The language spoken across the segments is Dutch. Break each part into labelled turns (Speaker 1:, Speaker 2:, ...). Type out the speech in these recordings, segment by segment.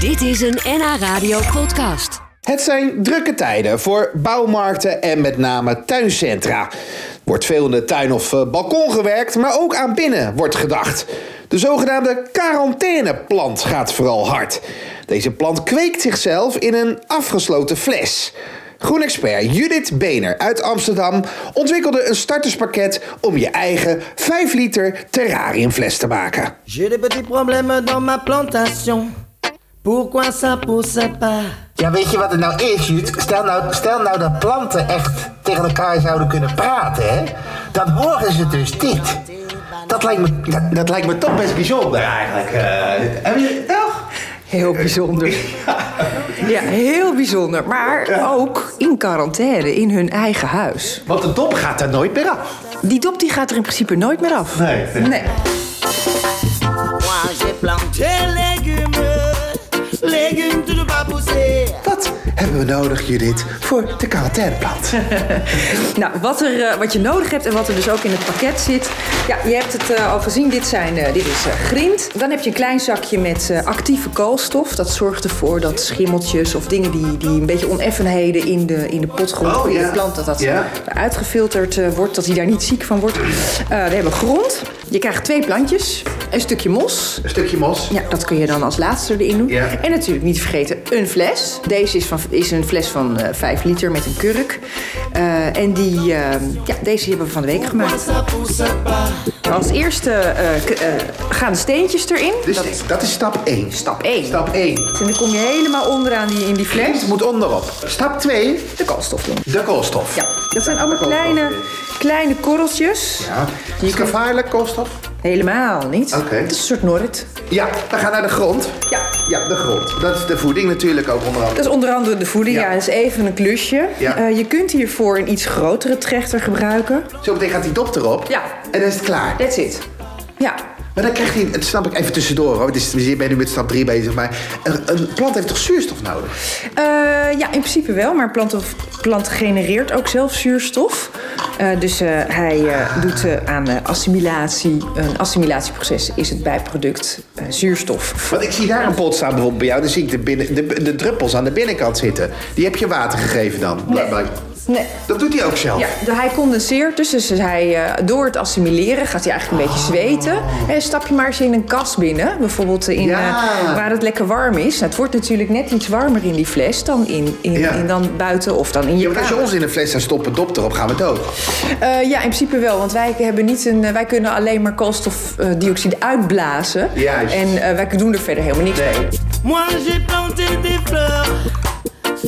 Speaker 1: Dit is een NH Radio podcast.
Speaker 2: Het zijn drukke tijden voor bouwmarkten en met name tuincentra. Wordt veel in de tuin of eh, balkon gewerkt, maar ook aan binnen wordt gedacht. De zogenaamde quarantaineplant gaat vooral hard. Deze plant kweekt zichzelf in een afgesloten fles. Groenexpert Judith Bener uit Amsterdam ontwikkelde een starterspakket om je eigen 5 liter terrariumfles te maken.
Speaker 3: J'ai des petits problèmes dans ma plantation. Pourquoi ça pousse pas
Speaker 4: Ja, weet je wat het nou is, Jut? Stel nou, stel nou dat planten echt tegen elkaar zouden kunnen praten, hè? Dan horen ze dus dit. Dat lijkt me, dat, dat lijkt me toch best bijzonder eigenlijk. eh. heb je toch?
Speaker 5: Heel bijzonder. Ja, heel bijzonder. Maar ook in quarantaine, in hun eigen huis.
Speaker 4: Want de dop gaat daar nooit meer af.
Speaker 5: Die dop die gaat er in principe nooit meer af.
Speaker 4: Nee, nee.
Speaker 3: Moi j'ai planté légumes, légumes tout ne pas pousser.
Speaker 2: Wat hebben we nodig, Judith, voor de quarantaineplant?
Speaker 5: Nou, wat, er, eh, wat je nodig hebt en wat er dus ook in het pakket zit. Ja, je hebt het eh, al gezien. Dit, zijn, eh, dit is eh, grind. Dan heb je een klein zakje met eh, actieve koolstof. Dat zorgt ervoor dat schimmeltjes of dingen die, die een beetje oneffenheden in de, in de potgrond
Speaker 2: Oh,
Speaker 5: of in
Speaker 2: ja.
Speaker 5: de plant, dat dat
Speaker 2: Ja.
Speaker 5: uitgefilterd eh, wordt, dat hij daar niet ziek van wordt. Eh, we hebben grond. Je krijgt twee plantjes, een stukje mos
Speaker 2: Een stukje mos.
Speaker 5: Ja, dat kun je dan als laatste erin doen.
Speaker 2: Ja.
Speaker 5: En natuurlijk niet vergeten een fles. Deze is, van, is een fles van eh 5 liter met een kurk. Eh, en die, eh, ja, deze hebben we van de week gemaakt. Als eerste eh, k- eh, gaan de steentjes erin.
Speaker 2: Dus
Speaker 5: Dat
Speaker 2: dat,
Speaker 5: is
Speaker 2: is, stap 1.
Speaker 5: stap 1.
Speaker 2: Stap 1.
Speaker 5: En dan kom je helemaal onderaan die, in die fles.
Speaker 2: Het moet onderop. Stap 2,
Speaker 5: De koolstof doen.
Speaker 2: de koolstof.
Speaker 5: Ja, dat zijn allemaal kleine, kleine korreltjes.
Speaker 2: Ja. Is het gevaarlijk, koolstof?
Speaker 5: Helemaal niet.
Speaker 2: Oké.
Speaker 5: Het is een soort norrit.
Speaker 2: Ja, we gaan naar de grond.
Speaker 5: Ja.
Speaker 2: Ja, de grond. Dat is de voeding natuurlijk ook onder andere.
Speaker 5: Dat is onder andere de voeding. Ja, dat is even een klusje.
Speaker 2: Ja.
Speaker 5: Eh, je kunt hiervoor een iets grotere trechter gebruiken.
Speaker 2: Zometeen gaat die dop erop.
Speaker 5: Ja.
Speaker 2: En dan is het klaar.
Speaker 5: That's it. Ja.
Speaker 2: Maar dan krijgt hij, dat snap ik even tussendoor hoor. Het is, we zijn nu met stap 3 bezig, maar een, een plant heeft toch zuurstof nodig?
Speaker 5: Eh, ja, in principe wel. Maar een plant, plant genereert ook zelf zuurstof. Eh, dus eh, hij eh, doet eh, aan eh, assimilatie. Een assimilatieproces is het bijproduct eh, zuurstof.
Speaker 2: Want ik zie daar een pot staan bijvoorbeeld bij jou. Dan zie ik de, binnen, de, de druppels aan de binnenkant zitten. Die heb je water gegeven dan, blijkbaar.
Speaker 5: Nee.
Speaker 2: Dat doet hij ook zelf.
Speaker 5: Ja, de- hij condenseert dus. Dus hij, eh, door het assimileren gaat hij eigenlijk een beetje zweten. En stap je maar eens in een kas binnen. Bijvoorbeeld in,
Speaker 2: Ja.
Speaker 5: eh, waar het lekker warm is. Nou, het wordt natuurlijk net iets warmer in die fles dan, in, in,
Speaker 2: Ja.
Speaker 5: in dan buiten of dan in je
Speaker 2: Ja, want als je
Speaker 5: kamer.
Speaker 2: ons in een fles zou stoppen, dop erop, gaan we dood.
Speaker 5: Eh, ja, in principe wel. Want wij, hebben niet een, eh, wij kunnen alleen maar koolstofdioxide uitblazen.
Speaker 2: Juist.
Speaker 5: En eh, wij doen er verder helemaal niks mee.
Speaker 3: Moi j'ai planté des fleurs,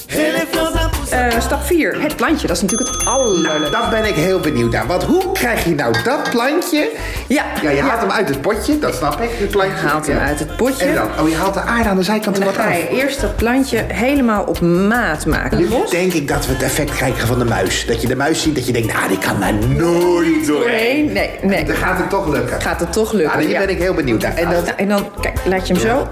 Speaker 3: et les fleurs ça pousse.
Speaker 5: Eh, stap 4. Het plantje. Dat is natuurlijk het allerleukste.
Speaker 2: Daar Nou, ben ik heel benieuwd naar. Want hoe krijg je nou dat plantje?
Speaker 5: Ja.
Speaker 2: Ja, je haalt hem uit het potje, dat snap ik. Het plantje.
Speaker 5: Je haalt hem
Speaker 2: Ja.
Speaker 5: uit het potje.
Speaker 2: En dan? Oh, je haalt de aarde aan de zijkant er
Speaker 5: Dan
Speaker 2: wat
Speaker 5: ga je
Speaker 2: af.
Speaker 5: eerst dat plantje helemaal op maat maken.
Speaker 2: Nu denk ik dat we het effect krijgen van de muis. Dat je de muis ziet, dat je denkt, ah, die kan daar nooit
Speaker 5: Nee,
Speaker 2: doorheen.
Speaker 5: nee, nee.
Speaker 2: Dan gaat het toch lukken.
Speaker 5: Gaat het toch lukken?
Speaker 2: Ah, daar
Speaker 5: ja.
Speaker 2: ben ik heel benieuwd naar. En dat
Speaker 5: Nou, en dan, kijk, laat je hem zo.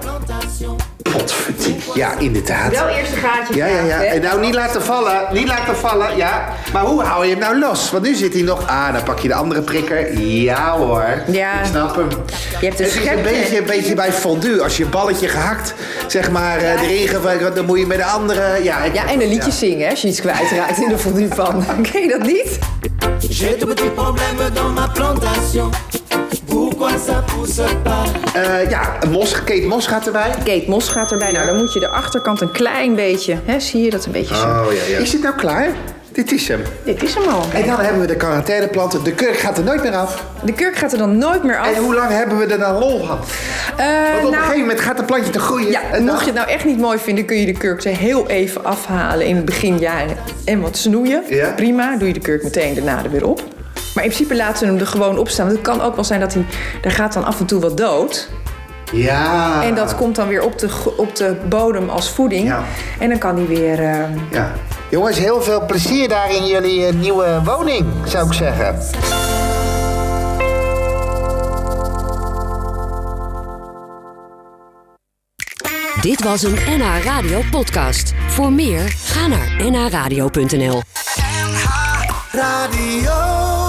Speaker 2: potverdikke. Ja, inderdaad.
Speaker 5: Wel eerst een gaatje.
Speaker 2: Ja, ja, ja.
Speaker 5: graven, hè?
Speaker 2: En nou niet laten vallen. Niet laten vallen, ja. Maar hoe hou je hem nou los? Want nu zit hij nog... Ah, dan pak je de andere prikker. Ja hoor.
Speaker 5: Ja.
Speaker 2: Ik snap hem.
Speaker 5: Je hebt een
Speaker 2: het is een
Speaker 5: schepje.
Speaker 2: beetje, een beetje bij fondue. Als je een balletje gehakt, zeg maar, eh, erin gevangen, dan moet je met de andere... Ja, ik-
Speaker 5: Ja, en een liedje zingen, hè, als je iets kwijtraakt in de fondue van. Ken je dat niet?
Speaker 3: J'ai des petits problèmes dans ma plantation. Pourquoi ça pousse pas
Speaker 2: Eh, ja, een mos, Kate Mos gaat erbij.
Speaker 5: Kate Mos gaat erbij. Nou, dan moet je de achterkant een klein beetje... Hè, zie je dat een beetje zo?
Speaker 2: Oh, ja, ja. Is dit nou klaar? Dit is hem.
Speaker 5: Dit is hem al.
Speaker 2: En dan hebben we de quarantaineplanten. De kurk gaat er nooit meer af.
Speaker 5: De kurk gaat er dan nooit meer af.
Speaker 2: En hoe lang hebben we er dan lol van? Want
Speaker 5: Eh,
Speaker 2: op een
Speaker 5: nou,
Speaker 2: gegeven moment gaat het plantje te groeien.
Speaker 5: ja,
Speaker 2: En dan-
Speaker 5: mocht je het nou echt niet mooi vinden, kun je de kurk er heel even afhalen in het begin. Ja, en- en wat snoeien.
Speaker 2: Ja.
Speaker 5: Prima, doe je de kurk meteen daarna er weer op. Maar in principe laten we hem er gewoon op staan. Want het kan ook wel zijn dat hij... Er gaat dan af en toe wat dood.
Speaker 2: Ja.
Speaker 5: En dat komt dan weer op de, gro- op de bodem als voeding.
Speaker 2: Ah. Ja.
Speaker 5: En dan kan die weer... eh,
Speaker 2: Ja. Jongens, heel veel plezier daar in jullie eh, nieuwe woning, zou ik zeggen.
Speaker 1: Dit was een NH Radio podcast. Voor meer, ga naar nhradio.nl.
Speaker 6: Radio.